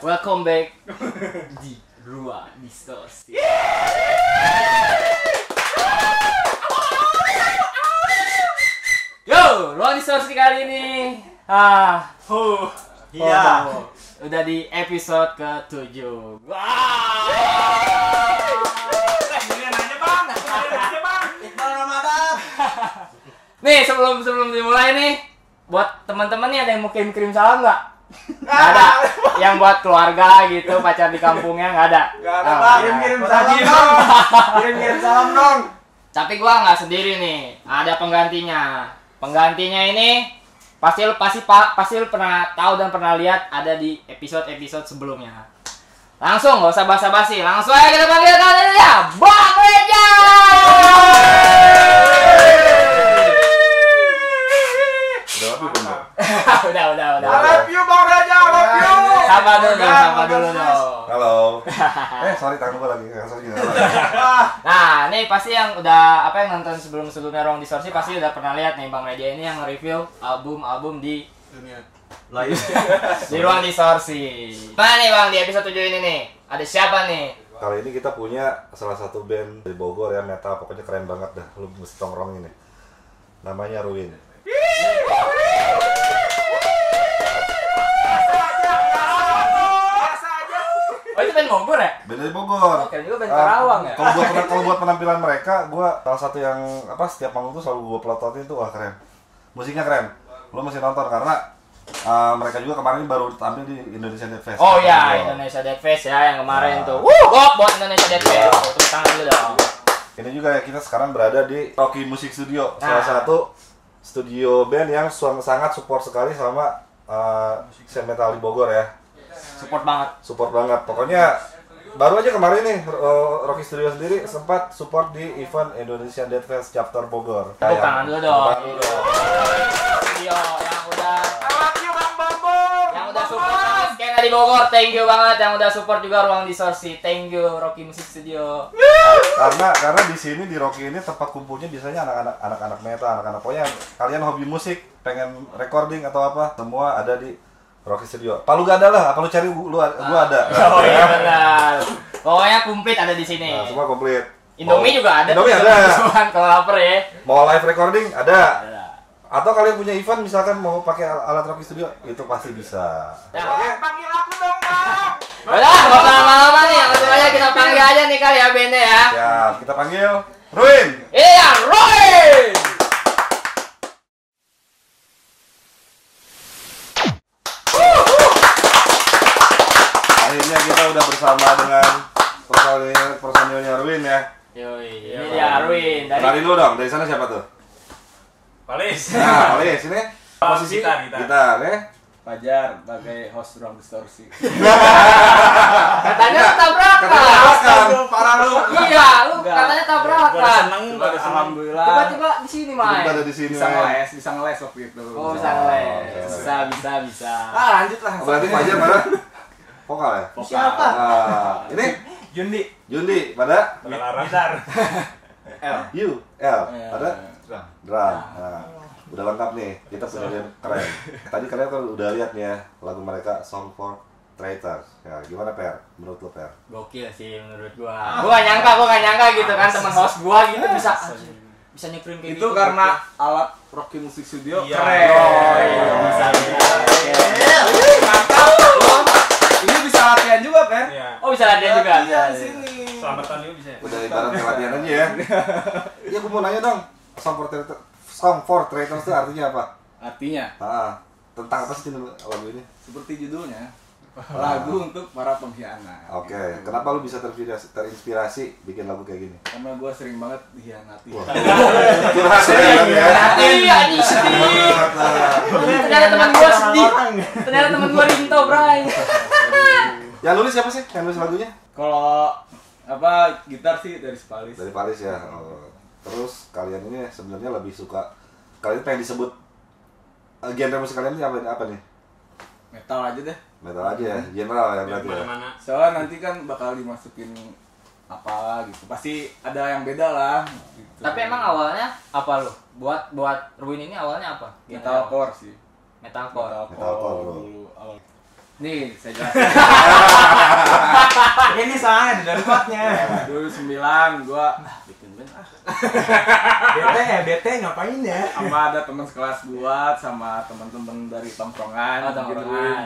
była dystorcja. Yo, ruang distorsi kali ini. Ah, huh. Iya. Wow. Udah di episode ke-7. Kalian aja bang, kalian aja bang. Iqbal Ramadan. Nih, sebelum sebelum dimulai nih, buat teman-teman nih ada yang mau kirim-kirim salam nggak? Nggak ada. Yang buat keluarga gitu, pacar di kampungnya nggak ada. Gak ada Oh, bang. iya. Kirim-kirim salam dong. Kirim-kirim salam dong. Tapi gua nggak sendiri nih, ada penggantinya. Penggantinya ini pasti lu pasti pa- pasti lu pernah tahu dan pernah lihat ada di episode-episode sebelumnya. Langsung nggak usah basa-basi, langsung aja kita panggil ya, Bang Reja. Udah apa belum? udah, udah, udah. I love you bang Raja, I love iya. you. Sabar dulu, dong, sabar dulu dong. Halo. Eh, sorry tangan gua lagi nggak sorry nggak lagi. Ah, Nah, nih pasti yang udah apa yang nonton sebelum-sebelumnya Ruang Distorsi pasti udah pernah lihat nih Bang Reja ini yang review album-album di Lain. iya. di Ruang Distorsi. Mana nih Bang di episode 7 ini nih? Ada siapa nih? Kali ini kita punya salah satu band dari Bogor ya metal pokoknya keren banget dah. Lu mesti tongkrongin ya. Namanya Ruin. Biasa aja. Oh itu band Bogor ya? Band dari Bogor. Oke, juga band Ah, Karawang ya? Kalau buat pena- kalau buat penampilan mereka, gua salah satu yang apa setiap manggung tuh selalu gua pelototin tuh wah keren. Musiknya keren. Lu mesti nonton karena ah, mereka juga kemarin baru tampil di Indonesian Dead Fest. Iya. Oh Kata ya, gua. Indonesia Dead Fest ya yang kemarin Nah. tuh. Wuh, gok buat Indonesia Dead Fest. Iya. Tuh, tepuk tangan dulu dong. Ini juga ya, kita sekarang berada di Rocky Music Studio, salah Nah. satu studio band yang suang- sangat support sekali sama uh, Sen Metal di Bogor ya. Support banget. Support banget. Pokoknya baru aja kemarin nih uh, Rocky Studio sendiri sempat support di event Indonesian Dead Fest Chapter Bogor. Tepuk tangan dulu dong. Tepuk tangan dulu dong. Video Iya, yang udah I love you bang Bambang. yang udah support sama Skena di Bogor, thank you banget yang udah support juga Ruang Distorsi. Thank you Rocky Music Studio. Karena karena di sini di Rocky ini tempat kumpulnya biasanya anak-anak anak-anak metal, anak-anak pokoknya kalian hobi musik, pengen recording atau apa, semua ada di Rocky Studio. Palu gak ada lah, apa lu cari lu gua ada. Oh iya benar. Pokoknya komplit ada di sini. Nah, semua komplit. Indomie Mau- juga ada. Indomie tuh, ada. Cuman kalau lapar ya. Mau live recording ada. Nah. Atau kalian punya event misalkan mau pakai al- alat Rocky Studio itu pasti bisa. Bang, Panggil aku dong bang. Nah, Udah, nggak usah lama-lama nih. Langsung aja kita panggil aja nih kali ya bandnya ya. Ya, kita panggil Ruin. Iya, Roy. Akhirnya kita udah bersama dengan personil personilnya Ruin ya. Yoi, ini Iya, dia Ruin dari Kenalin dulu dong, dari sana siapa tuh? Palis. Iya. Nah, oleh sini posisi Gitar, gitar. gitar ya. Fajar sebagai host ruang distorsi. katanya Enggak. tabrakan. Astaga, Parah lu. Iya, lu Enggak. katanya Gua udah tabrakan. seneng, gua udah seneng. Alhamdulillah. Tiba-tiba di sini Kita main. ada di sini. iya. bisa men. ngeles, bisa ngeles waktu itu. Oh, bisa Bisa. ngeles. Bisa, bisa, bisa. Ah, lanjut lah. Oh, Berarti Fajar mana? Vokal ya? Siapa? Nah, ini Jundi. Jundi pada Udah larang. Gitar. U L Iya. pada drum. Nah, udah lengkap nih. Kita punya band keren. Tadi kalian kan udah lihat nih ya lagu mereka Song for Traitors. Ya, gimana Per? Menurut lo Per? Gokil sih menurut gua. Gua gak nyangka, gua gak nyangka gitu kan teman host gua gitu bisa bisa nyekrim kayak Itu gitu. karena alat Rocky Music Studio Iya. keren. Oh, iya, bisa, bisa. Iya. Wih, Mantap. Loh, Ini bisa latihan juga, Per. Iya. Oh, bisa latihan juga. Latihan sini. Selamatan dulu bisa. ya? Udah ibarat kayak latihan aja ya. Iya, gue mau nanya dong. Song for Traitors. Song for Traitors itu artinya apa? Artinya, Ah, tentang apa sih lagu ini? seperti judulnya, lagu untuk para pengkhianat. Oke, kenapa lu bisa terinspirasi, terinspirasi bikin lagu kayak gini? Karena gue sering banget dikhianati. Iya. Wah. Curhat ya, Bang, ya. Iya, ini sedih. Iya. Curhat lah. Ternyata teman gua sedih. Ternyata teman gua Rinto, Bray. Yang nulis siapa sih? Yang nulis lagunya? Kalau apa gitar sih dari Spalis. Dari Paris ya. Oh. Terus kalian ini sebenarnya lebih suka kalian pengen disebut eh, genre musik kalian ini apa, apa nih? Metal aja deh. Metal aja Iya. ya, general ya Biar berarti. ya. kemana-mana. Soalnya nanti kan bakal dimasukin apa gitu. Pasti ada yang beda lah. Gitu. Tapi emang awalnya apa lu? Buat buat Ruin ini awalnya apa? metalcore sih. Metalcore. Oh, Metalcore Metalcore, bro. dulu. awal. Nih, saya jelasin. Ini soalnya ada dampaknya. 2009 gua bikin band ah. Bete ya, bete ngapain ya? sama ada teman sekelas gua sama teman-teman dari tongkrongan gitu. Oh, tongkrongan.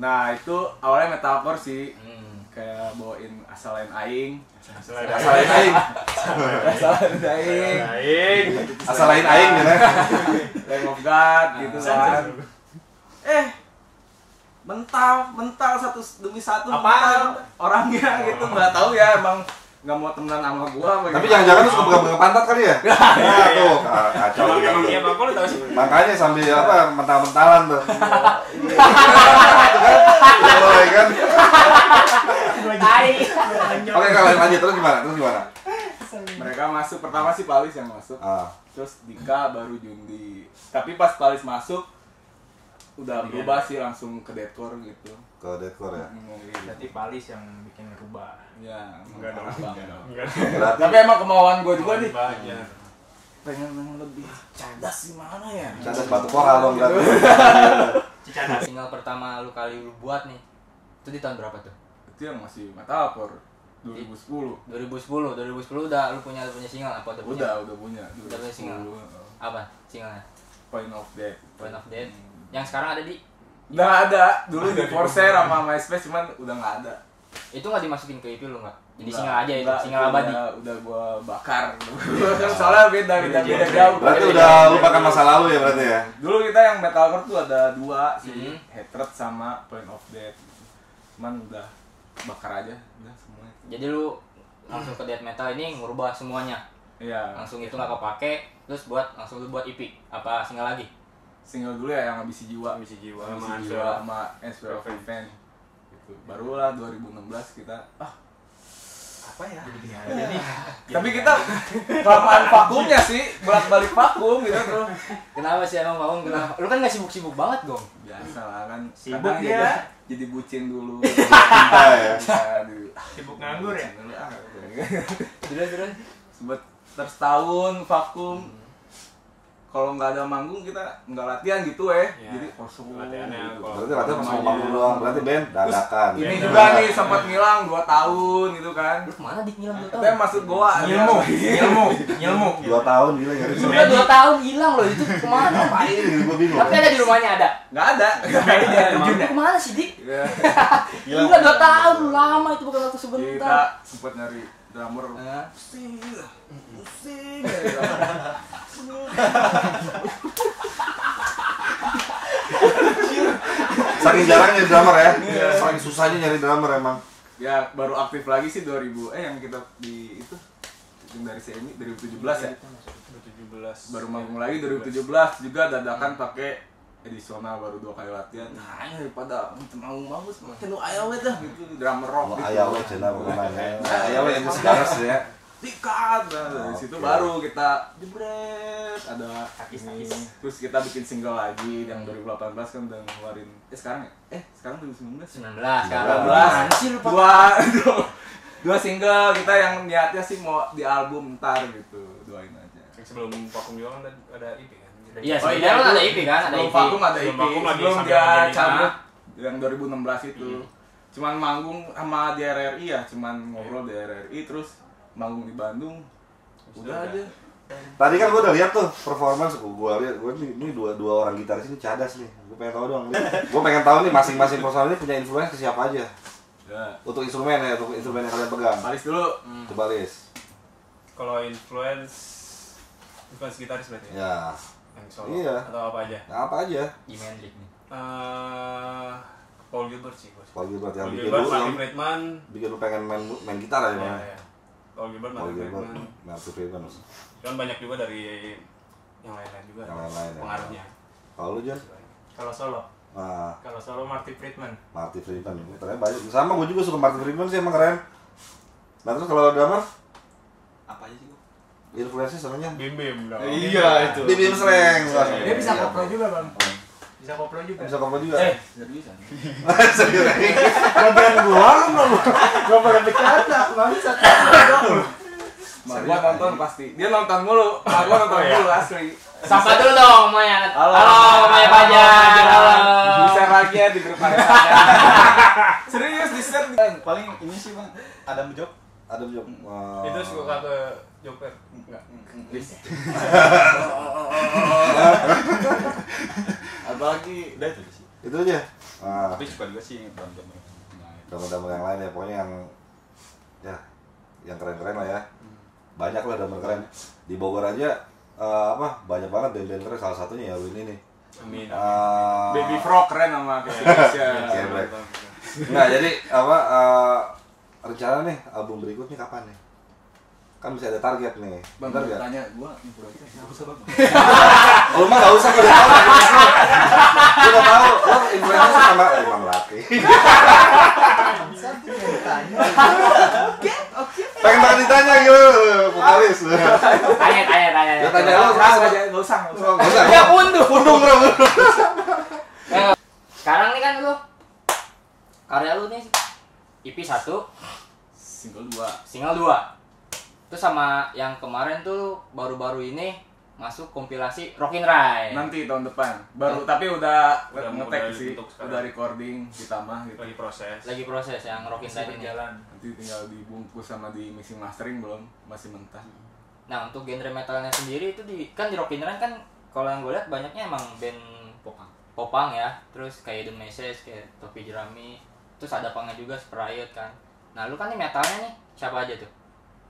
Nah, itu awalnya metalcore sih. Hmm. Kayak bawain asal lain aing. Selain Asal lain aing. asal lain aing. Aing. Iya. Asal lain aing gitu. ya. Lamb of Ah, God gitu Iya, kan. Eh, mental, mental satu demi satu Apaan? mental orangnya gitu nggak tahu ya emang nggak mau temenan sama gua Tapi apa gimana. jangan-jangan lu suka pegang-pegang pantat kali ya? Nah, tuh, ka- kacau. Iya, Emang emang dia apa lu tahu sih? Makanya sambil apa mental-mentalan tuh. Iya, iya kan? Tai. Oke, kalau lanjut terus gimana? Terus gimana? mereka masuk pertama sih Palis yang masuk Ah. terus Dika baru Jundi tapi pas Palis masuk udah Iya. berubah sih langsung ke deadcore gitu ke dekor ya. Berarti Palis yang bikin rubah. ya Enggak dong. parah banget. Enggak. Berarti tapi emang kemauan gue juga nih Banyak. pengen yang lebih cerdas gimana ya cacat batu koral dong berarti. Cicadas. Single pertama lu kali lu buat nih. Itu di tahun berapa tuh? itu yang masih metalcore 2010 2010. 2010 udah lu punya punya single apa udah punya? udah udah punya Udah punya single. 2010, uh, Apa? Singlenya? Point of Death Point of Death. Yang sekarang ada di nggak ada dulu di Force sama MySpace cuman udah nggak ada itu nggak dimasukin ke EP lu nggak? Jadi Nggak, single aja itu, nggak, single abadi. udah, udah gua bakar soalnya beda beda beda jauh Berarti udah lupakan masa lalu ya berarti ya. dulu kita yang metalcore tuh ada dua sih Hmm. hatred sama point of death cuman udah bakar aja udah semuanya Jadi lu langsung ke death metal ini ngubah semuanya. iya Langsung itu nggak kepake, terus buat langsung lu buat EP apa single lagi? single dulu ya yang habisi jiwa Misi jiwa Ambisi sama jiwa Ansel. sama Answer of Revenge gitu. barulah 2016 kita ah apa ya Iya. Jadi tapi kita kelamaan vakumnya sih bolak balik vakum gitu tuh Kenapa sih emang Bang? Kenapa? Lu kan nggak sibuk-sibuk banget, Gong. biasa lah kan Sibuk kadang dia. jadi- jadi bucin dulu Cinta ya. Iya, dulu. sibuk nganggur ya? Bucin dulu, ah, udah. Terus terus. Sebet terus tahun vakum. Kalau nggak ada manggung kita nggak latihan gitu eh. Iya. Jadi kosong. Latihannya gitu. kosong. Berarti latihan pas mau bangun doang. Berarti band dadakan. Ini Iya. juga nih sempat ngilang 2 tahun gitu kan. Lu kemana dik ngilang dua Tapi tahun? masuk Iya. goa. Ilmu, ilmu, ilmu. Dua tahun gila ya. nyari Udah dua tahun hilang loh itu kemana? Ngapain? Gue bingung. Tapi ada di rumahnya ada. Nggak ada. Kayaknya emang. Lu kemana sih dik? Ya, Gila, dua tahun lu lama itu bukan waktu kita sebentar. sempat nyari drummer. Nah, Pusing. Pusing. ya, drummer. Saking jarang nyari drummer ya. Iya. Saking susahnya nyari drummer emang. Ya baru aktif lagi sih 2000 eh yang kita di itu yang dari semi 2017 ya. 2017. baru manggung lagi 2017 juga dadakan Hmm. pakai edisional baru dua kali latihan nah ini daripada mau mau Hmm. semakin lu ayawe dah gitu drummer rock Lo gitu ayawe cina bukan ya. Ayawe yang sekarang sih ya. tikat nah, dari Oke. situ baru kita jebret ada Takis-takis. ini. terus kita bikin single lagi Hmm. yang 2018 kan udah ngeluarin eh sekarang ya eh sekarang 2019 19 sekarang. 19. Apaan sih lu Pak? dua dua single kita yang niatnya sih mau di album ntar gitu doain aja Sebelum vakum juga kan tadi ada IP kan. Iya, Oh, sebenarnya iya, lu itu ada IP kan, ada Sebelum IP. vakum ada Sebelum IP, vakum lagi sebelum sambil dia Angelina. cabut yang 2016 itu. Cuman manggung sama di RRI ya, cuman ngobrol di RRI terus manggung di Bandung. Udah udah. aja. Tadi kan gue udah lihat tuh performance gue lihat gue nih, ini dua dua orang gitaris ini cadas nih. Gue pengen tahu dong. Gue pengen tahu nih masing-masing personal ini punya influence ke siapa aja. Ya. Untuk instrumen ya, untuk instrumen yang kalian pegang. Paris dulu. Coba list. Kalau influence influence gitaris berarti. ya? Ya. Yang solo Iya. atau apa aja? Nah, apa aja? Jimi Hendrix nih. Eh Paul Gilbert sih bos. Kalau Gilbert yang Paul bikin Gilbert, lu, Martin yang Friedman. bikin lu pengen main main gitar aja. Iya, Bang. iya. Paul Gilbert, Kalau Martin Gilbert, Nah, Friedman. Martin Friedman. Cuman banyak juga dari yang lain-lain juga. Yang lain-lain, ya. Pengaruhnya. Kalau lu Jon, Kalau solo, nah, kalau solo Marty Friedman. Martin Friedman, ternyata banyak. Sama gue juga suka Martin Friedman sih emang keren. Nah terus kalau drummer, Apa aja sih? influence senangnya Bim Bim dong. Iya, itu. Di Bim Sleng. Dia bisa koplo juga, Bang. Iya, Bisa koplo juga. Bisa koplo juga. Eh, Serius Serius. Ngobrol gua lu belum. Gua pernah bercanda, enggak bisa. Iya. Oh, Mak gua nonton pasti. Dia nonton mulu. Mak gua nonton mulu asli. Sapa dulu dong Maya. Halo, Maya Pajar. Eh. Halo. Bisa lagi ya di grup saya. Serius di share bang. Paling ini sih bang. Adam Job. Ada belum? Wah. Itu suka ke Joker. Enggak. Apalagi udah itu sih. Itu aja. Nah, Tapi suka juga sih Adam Job. drama-drama yang lain ya pokoknya yang ya yang keren-keren lah ya banyak lah drama keren di Bogor aja eh, apa banyak banget band-band keren salah satunya ya Win ini Amin. Eh, Baby Frog keren sama ke Indonesia. Geblek. Nah, jadi apa eh, rencana nih album berikutnya kapan nih? Kan bisa ada target nih. Bang, Bener nggak? tanya gua nih bro aja. Nggak usah bang. Oh, lu mah gak usah kalau tahu. Lu udah tahu, lu influencer sama Imam Lati. Pengen banget ditanya gitu, vokalis. Tanya tanya tanya. Ya tanya Nggak lu usah, kenapa? nggak usah, nggak usah. Oh, nggak usah. Ya unduh. Pundung bro. Sekarang nih kan lu karya lu nih EP 1, Single dua. single 2. Terus sama yang kemarin tuh baru-baru ini masuk kompilasi Rockin' Rai. Nanti tahun depan. Baru tapi udah, Udah- ngetek udah sih. dibentuk sekarang. Udah recording ditambah gitu. Lagi proses. Lagi proses yang Rockin' Rai ini. Nanti tinggal dibungkus sama di mixing mastering belum masih mentah. Nah untuk genre metalnya sendiri itu di kan di Rockin' Rai kan kalau yang gue lihat banyaknya emang band popang, popang ya. Terus kayak The Message, kayak Topi Jerami. Terus ada pangnya juga Sprite kan. Nah lu kan nih metalnya nih siapa aja tuh?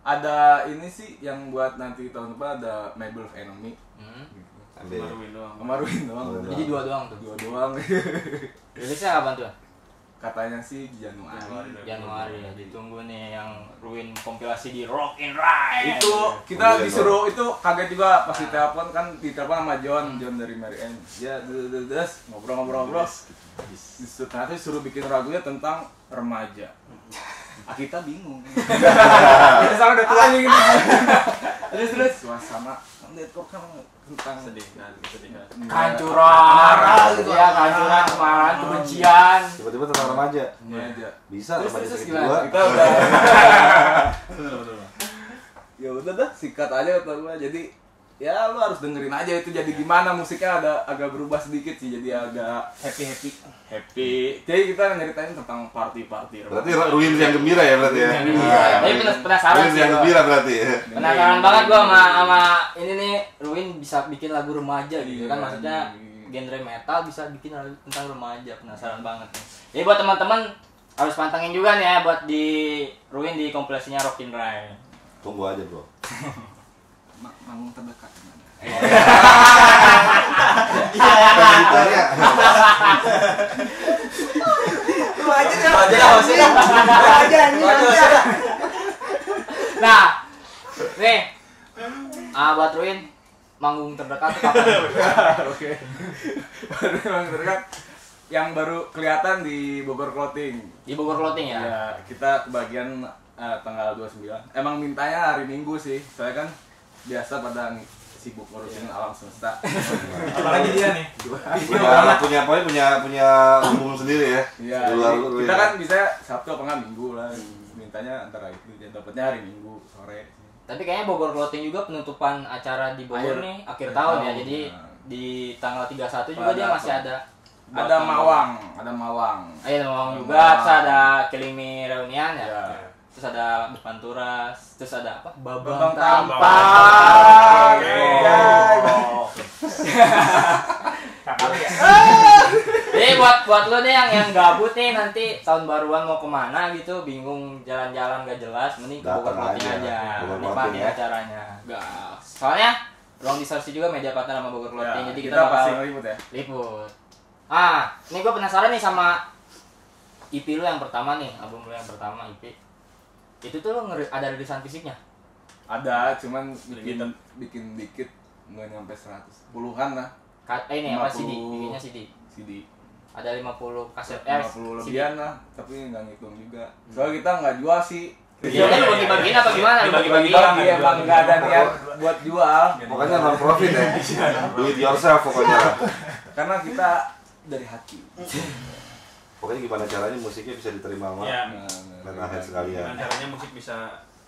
Ada ini sih yang buat nanti tahun depan ada Mabel of Enemy. Hmm. Gitu. Ambil. Baru doang. Kemarin doang. Kemarin Jadi dua doang tuh. Dua doang. Rilisnya kapan tuh? Katanya sih Januari. Januari ya, ditunggu nih yang ruin kompilasi di Rock and Ride. itu kita disuruh itu kaget juga pas ditelepon kan ditelepon sama John John dari Mary Ann ya des ngobrol-ngobrol-ngobrol disuruh ternyata disuruh bikin lagunya tentang remaja Ah, kita bingung kita sama udah tua nih gitu terus terus suasana network kan tentang Kesedihan, kesedihan. kancuran, gitu. ya kancuran, kemarahan, kebencian. Tiba-tiba tentang remaja. remaja Bisa Terus, remaja terus segitiga. gimana? kita udah ya udah dah sikat aja kata gua jadi ya lu harus dengerin aja itu jadi gimana musiknya ada agak berubah sedikit sih jadi agak happy happy happy jadi kita nyeritain tentang party party Berarti ruin yang gembira ya berarti ya. Iya, tapi penas- penasaran Ruin sih. yang gua. gembira berarti. ya. Penasaran banget gua sama sama ini nih Ruin bisa bikin lagu remaja gitu Iya, kan maksudnya iya. genre metal bisa bikin lagu tentang remaja penasaran banget nih. Jadi buat teman-teman harus pantengin juga nih ya buat di Ruin di kompilasinya Rockin' Ride. Tunggu aja bro. Ma- manggung terdekat gimana? Ah. Pengen ditanya. Lu aja deh. Lu aja sih. Lu aja ini aja. Nah, nih, ah buat Ruin, manggung terdekat tuh kapan? oke baru manggung terdekat yang baru kelihatan di Bogor Clothing Di Bogor Clothing ya. ya kita kebagian eh, tanggal 29 emang mintanya hari Minggu sih soalnya kan biasa pada sibuk ngurusin alam semesta Apalagi dia nih. Punya punya pokoknya punya punya hubungan sendiri ya. Iya, Di luar jadi lu kita ya. kan bisa Sabtu apa enggak Minggu lah. Mintanya antara itu dan dapatnya hari Minggu sore. Tapi kayaknya Bogor Clothing juga penutupan acara di Bogor Akhir- nih akhir akhir tahun ya. tahun, Jadi ya. di tanggal 31 juga Ada dia masih apa? ada. Ada Buat- Mawang, ada Mawang. Iya, ada Mawang Ada juga. Mawang. Terus ada Killing Me Reunion ya. Ya. Terus ada Panturas, terus ada apa? Babang Babang Tampan. Tampan. Iya. Oh. Jadi buat buat lo nih yang yang gabut nih nanti tahun baruan mau kemana gitu bingung jalan-jalan gak jelas mending ke Bogor Datang Clothing aja. aja Bogor nikmatin Clothing ya. acaranya gas soalnya ruang disorsi juga media partner sama Bogor Ya, Clothing Iya, jadi kita, kita pasti bakal ngeliput ya. liput ah ini gue penasaran nih sama EP lo yang pertama nih album lo yang pertama EP itu tuh lo ngeri- ada rilisan fisiknya Ada, cuman bikin Limited. bikin dikit nggak nyampe 100 puluhan lah Ka- eh, ini apa CD 50. bikinnya CD CD ada 50 kaset eh, 50 CD. lebihan lah tapi nggak ngitung juga soalnya kita nggak jual sih Iya, kan lu bagi-bagiin apa gimana? Lu Dibagi-bagi bagi-bagiin. orang, Iya, emang nggak ada niat buat jual Pokoknya non profit ya. Do it yourself pokoknya. karena kita dari hati Nah, Pokoknya gimana caranya musiknya bisa diterima sama Iya. Nah, dan akhir sekalian. Iya. Dengan caranya musik bisa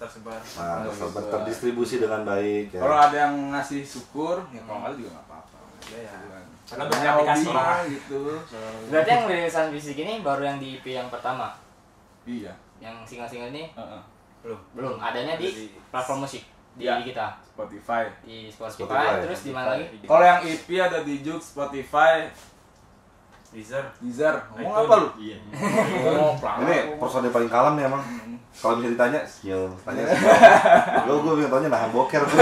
tersebar. Nah, tersebar- terdistribusi dengan baik ya. Kalau ada yang ngasih syukur, ya kalau nggak ada juga nggak apa-apa. Iya, ya. Karena Karena banyak banyak hobi aplikasi. mah gitu. Berarti yang rilisan fisik ini baru yang di EP yang pertama. Iya. Yang single-single ini heeh. Belum. belum adanya di Di- platform musik di Iya. kita Spotify. di Spotify, Ya. Spotify. terus di mana lagi? Kalau yang EP ada di Jux, Spotify, Deezer. Deezer. Ngomong iTunes. apa lu? Iya. Ngomong pelanggan. Ini personil paling kalem nih emang. Hmm. Kalau bisa ditanya, skill. Tanya Gue gue pengen tanya nahan boker tuh.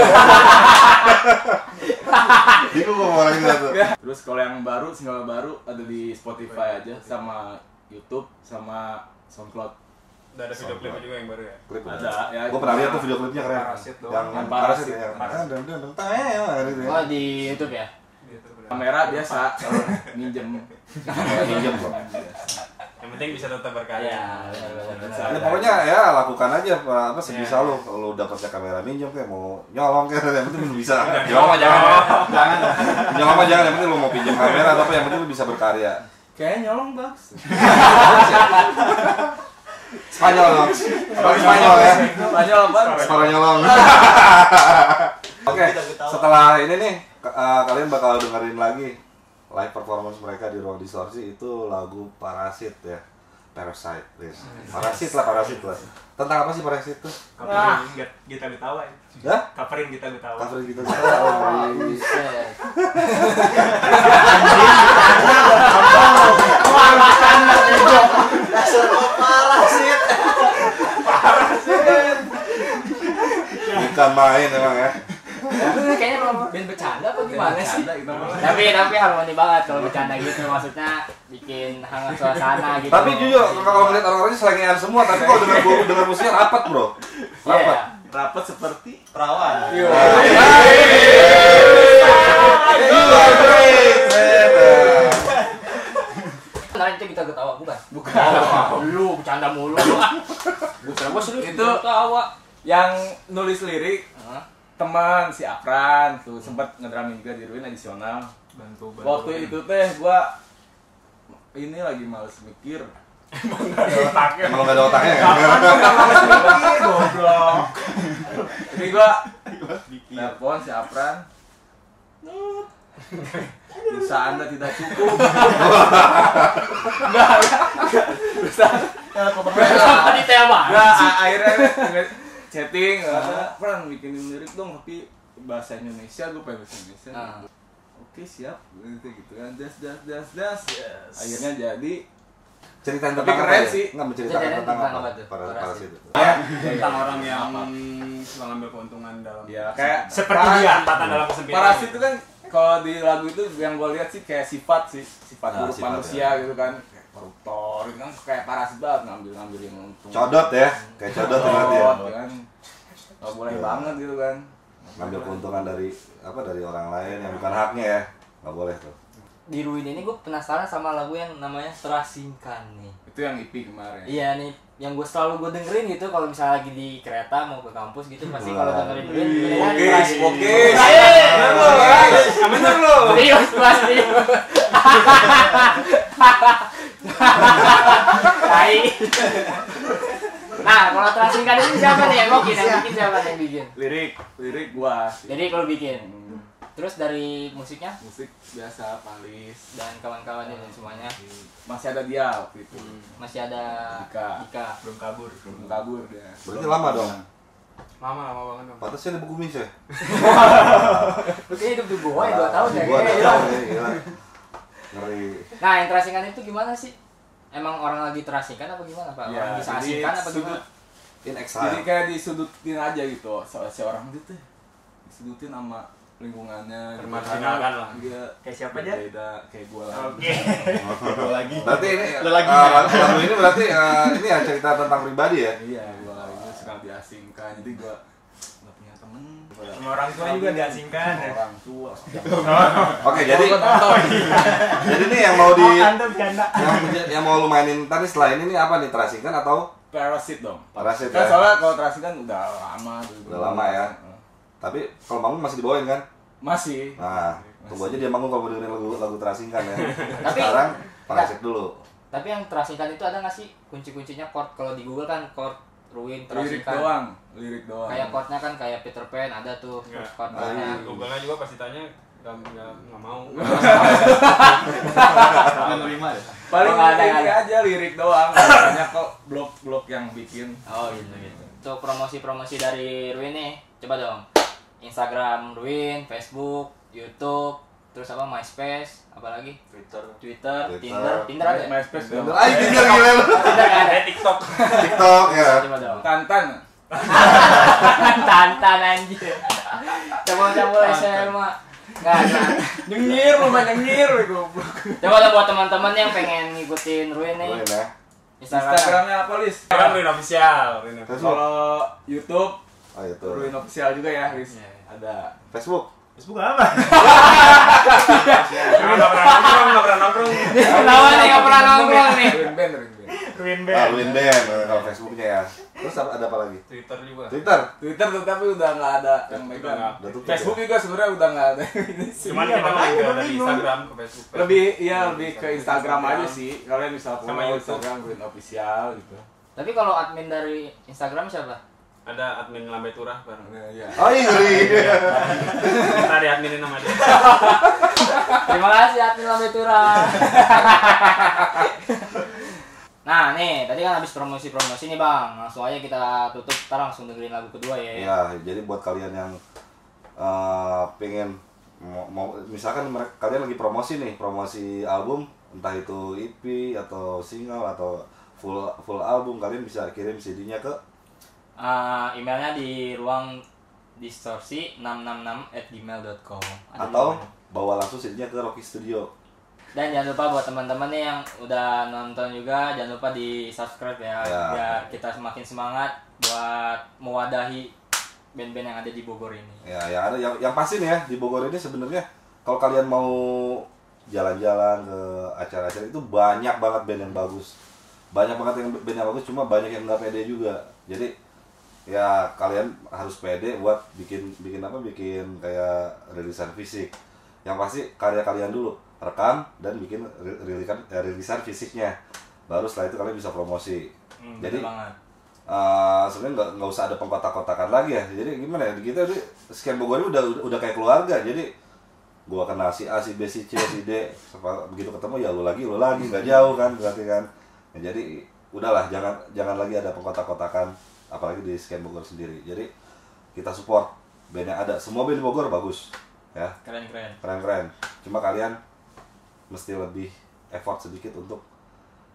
Bingung gue mau orangnya tuh. Terus kalau yang baru, single baru ada di Iya. Spotify aja sama YouTube sama SoundCloud. Udah ada video klipnya juga yang baru ya. Klip Ada ya. Gue pernah lihat tuh video klipnya keren. Parasit doang. Yang Yang parasit parasit. ya. Parasit. Ada ada ada. Tanya ya gitu ya. Oh di YouTube ya. Gitu, udah. Kamera biasa kalau minjem. Pinjam kok. Yang penting bisa tetap berkarya. Iya, Ya, pokoknya ya lakukan aja apa sebisa lo. Kalau dapatnya kamera minjem kayak mau nyolong kayak yang penting lu bisa. Nyolong mah jangan. Jangan. Nyolong mah jangan yang penting lo mau pinjam kamera atau apa yang penting lo bisa berkarya. Kayaknya nyolong bagus. Spanyol dong. Bang Spanyol ya. Iya. Banyak banget. Spanyol nyolong. Oke, setelah ini nih ke- eh, kalian bakal dengerin lagi live performance mereka di ruang distorsi itu lagu Parasit ya. Parasite, please. Parasit lah, parasit lah. Tentang apa sih parasit tuh? Kaperin Gita- Gita Gutawa ya. Hah? Kaperin Gita Gutawa. Cover gitu. Oh, Buset. Bukan main emang ya. Tapi kayaknya kalau band bercanda apa gimana sih? Ada gitu. Tapi tapi harmoni banget kalau bercanda gitu maksudnya bikin hangat suasana gitu. Iya, Tapi jujur, kalau ngeliat orang-orangnya selengean semua, tapi kalau denger gua denger musiknya rapat, Bro. Rapat. Iya. Rapat seperti Perawan. Nah, iya. Ntar itu kita ketawa bukan? Oh. bukan. Iya. Lu bercanda mulu. Gue serius Itu- ketawa. Yang nulis lirik teman si Afran tuh sempat ngedramin juga di Ruin adisional. Bantu bantu. Waktu itu teh gua ini lagi males mikir. Emang gak ada otaknya kan? Mikir, Iya, goblok. Jadi gua telepon si Afran. Nut. Dosa anda tidak cukup. Enggak, enggak. Dosa Kenapa detail banget? Nah, a- akhirnya gue chatting, uh, Pran bikin lirik dong tapi bahasa Indonesia, gue pengen Nah. bahasa Indonesia. Ah. Oke siap, gitu gitu kan, das das das das. Iya. Akhirnya jadi Ceritain Tapi tentang apa ya? keren sih. Nggak menceritakan Ceritain tentang tentang apa? apa tuh? Para Parasit. parasit. tentang orang yang suka ngambil keuntungan dalam ya kayak Seperti parasit. dia, Tatan dalam kesempitan. Parasit itu kan kalau di lagu itu yang gue lihat sih kayak sifat sih, sifat Nah, buruk sifat, manusia ya. gitu kan, kayak koruptor gitu kan, kayak parasit banget ngambil ngambil yang untung. Codot ya, kayak codot ternyata ya. Codot, kan. Gak boleh Ya. banget gitu kan. Ngambil keuntungan dari apa dari orang lain yang bukan haknya ya. Nggak boleh tuh. Di Ruin ini gue penasaran sama lagu yang namanya Terasingkan nih. Itu yang IP kemarin. Iya nih, yang gue selalu gue dengerin gitu kalau misalnya lagi di kereta mau ke kampus gitu pasti kalau Wah. dengerin Nah, iya, Ruin Oke, oke. Bener lu. Serius pasti. Tai. Nah, kalau terasingkan ini siapa nih yang bikin? Yang bikin siapa nih yang bikin? Lirik, lirik gua. sih. Jadi kalau bikin, Hmm, terus dari musiknya musik biasa Palis. dan kawan-kawannya dan semuanya Masih ada dia waktu itu. masih ada Dika. Dika. belum kabur Belum kabur dia. Berarti lama dong. lama lama banget dong Pantasnya ada buku mis ya? Lu kayaknya hidup di gua ya 2 tahun ya. Gua ada kayaknya. tahun ya, gila. Ngeri. Nah, yang terasingkan itu gimana sih? Emang orang lagi terasingkan apa gimana, Pak? Ya, Orang bisa jadi asingkan apa sudut- gimana? In exile. Jadi kayak disudutin aja gitu. Se seorang itu tuh disudutin sama lingkungannya. gitu. Termarginalkan Karena lah. Dia Kayak siapa aja? Beda kayak gua lah. Oke. lagi Berarti ini Ada lagi eh, ya? lagu- lagu ini berarti eh, ini ya cerita tentang pribadi ya. Iya, gua lagi itu sedang diasingkan. Jadi gua nggak punya temen. Sama orang tua juga diasingkan ya. Orang tua. Oke, jadi Gua tonton. jadi nih yang mau di Oh, Anda bercanda. yang yang mau lu mainin tadi selain ini apa nih terasingkan atau Parasit dong. Parasit, Kan ya. soalnya kalau Parasit kan udah lama tuh. Udah lama ya. tapi kalau manggung masih dibawain kan? Masih. Nah, tunggu aja dia manggung kalau mau dengerin lagu lagu terasingkan ya. Tapi- Sekarang parasit dulu. Tapi yang terasingkan itu ada nggak sih kunci-kuncinya chord? Kalau di Google kan chord ruin terus lirik kan. doang lirik doang kayak chordnya kan kayak Peter Pan ada tuh Enggak. chord Nah, iya. chordnya Google-nya juga pasti tanya nggak nggak nggak mau. menerima deh. paling Oh, ada, lirik ada. aja lirik doang Biasanya kok blok-blok yang bikin oh gitu gitu untuk promosi-promosi dari Ruin nih coba dong Instagram Ruin Facebook YouTube terus apa MySpace apalagi Twitter. Twitter, Twitter. Tinder Tinder ada ya? Nah, MySpace Tinder, dong. ay Tinder gila lu. Tinder nggak ada TikTok. TikTok ya. coba dong Tantan tantan anjir campur-campur SMA nggak nggak. nyengir lu mah nyengir lu, goblok Coba dong buat teman-teman yang pengen ngikutin Ruin Boleh nih ya. Instagram. Instagramnya apa Lis? Sekarang Ruin official. Ruin official. Facebook. Kalau YouTube Oh itu. Ruin official juga ya Lis Iya, iya. ada Facebook. Facebook apa? Karena nggak pernah nongkrong, nggak pernah nongkrong. Kenapa nih Oh, nggak pernah nongkrong nih? Ruin band Ruin band Ruin Ah, Win Band eh, kalau Facebooknya ya. Terus apa- ada apa lagi? Twitter juga. Twitter. Twitter tetapi udah nggak ada yang Udah megang nggak. Iya, Udah tutup. Facebook juga sebenarnya udah nggak ada ini sih. Cuman kita makanya lebih ke gua dari bingung. Instagram ke Facebook. Iya. lebih iya Facebook, lebih ke Instagram aja sih kalian bisa Sama follow YouTube. Instagram Ruin official gitu Tapi kalau admin dari Instagram siapa? Ada admin Lambe Turah bareng. Nah, iya Oh iya. iya. Kita diadminin sama dia. Terima kasih admin Lambe Tura. nah nih, tadi kan habis promosi-promosi nih bang. Langsung aja kita tutup, kita langsung dengerin lagu kedua ya. Ya, jadi buat kalian yang eh, pengen mau, mau- misalkan mereka, kalian lagi promosi nih, promosi album, entah itu EP atau single atau full full album, kalian bisa kirim CD-nya ke Eh, emailnya di ruang distorsi 666 at gmail.com atau bawa langsung CD-nya ke Rocky Studio. Dan jangan lupa buat teman-teman nih yang udah nonton juga jangan lupa di subscribe ya, Ya. biar kita semakin semangat buat mewadahi band-band yang ada di Bogor ini. Ya, yang ada yang, yang pasti nih ya di Bogor ini sebenarnya kalau kalian mau jalan-jalan ke acara-acara itu banyak banget band yang bagus. Banyak banget yang band yang bagus cuma banyak yang nggak pede juga. Jadi ya kalian harus pede buat bikin bikin apa bikin kayak rilisan fisik. Yang pasti karya kalian dulu rekam dan bikin ri- rilikan eh, rilisan fisiknya. Baru setelah itu kalian bisa promosi. Jadi Betul banget. Eh, sebenarnya nggak nggak usah ada pengkotak-kotakan lagi ya jadi gimana ya kita udah sekian Bogor ini udah udah kayak keluarga jadi gua kenal si A si B si C si D Sepa- begitu ketemu ya lu lagi lu lagi nggak jauh kan berarti kan Ya, jadi udahlah jangan jangan lagi ada pengkotak-kotakan apalagi di sekian Bogor sendiri jadi kita support band yang ada semua band di Bogor bagus ya Keren-keren. keren-keren cuma kalian mesti lebih effort sedikit untuk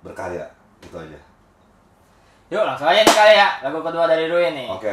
berkarya itu aja Yuk langsung aja nih kali ya lagu kedua dari Ruin nih. oke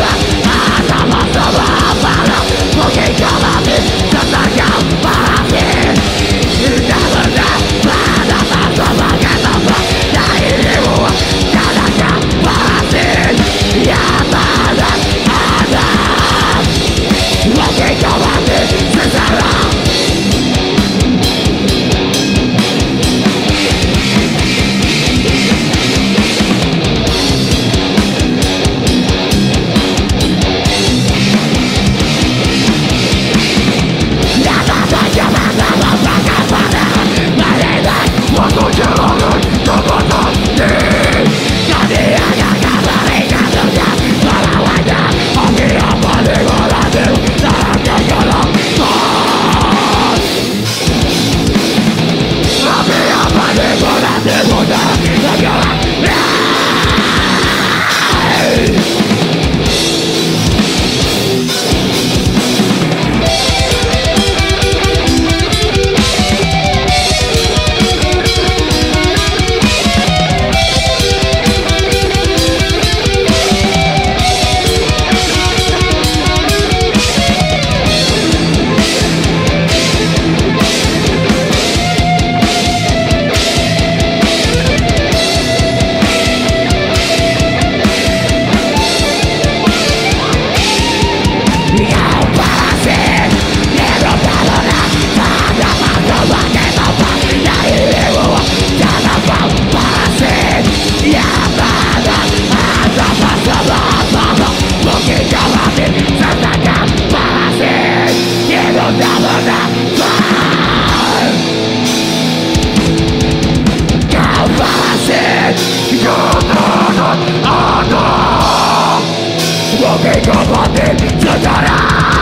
Nada Sebagai kabupaten sejarah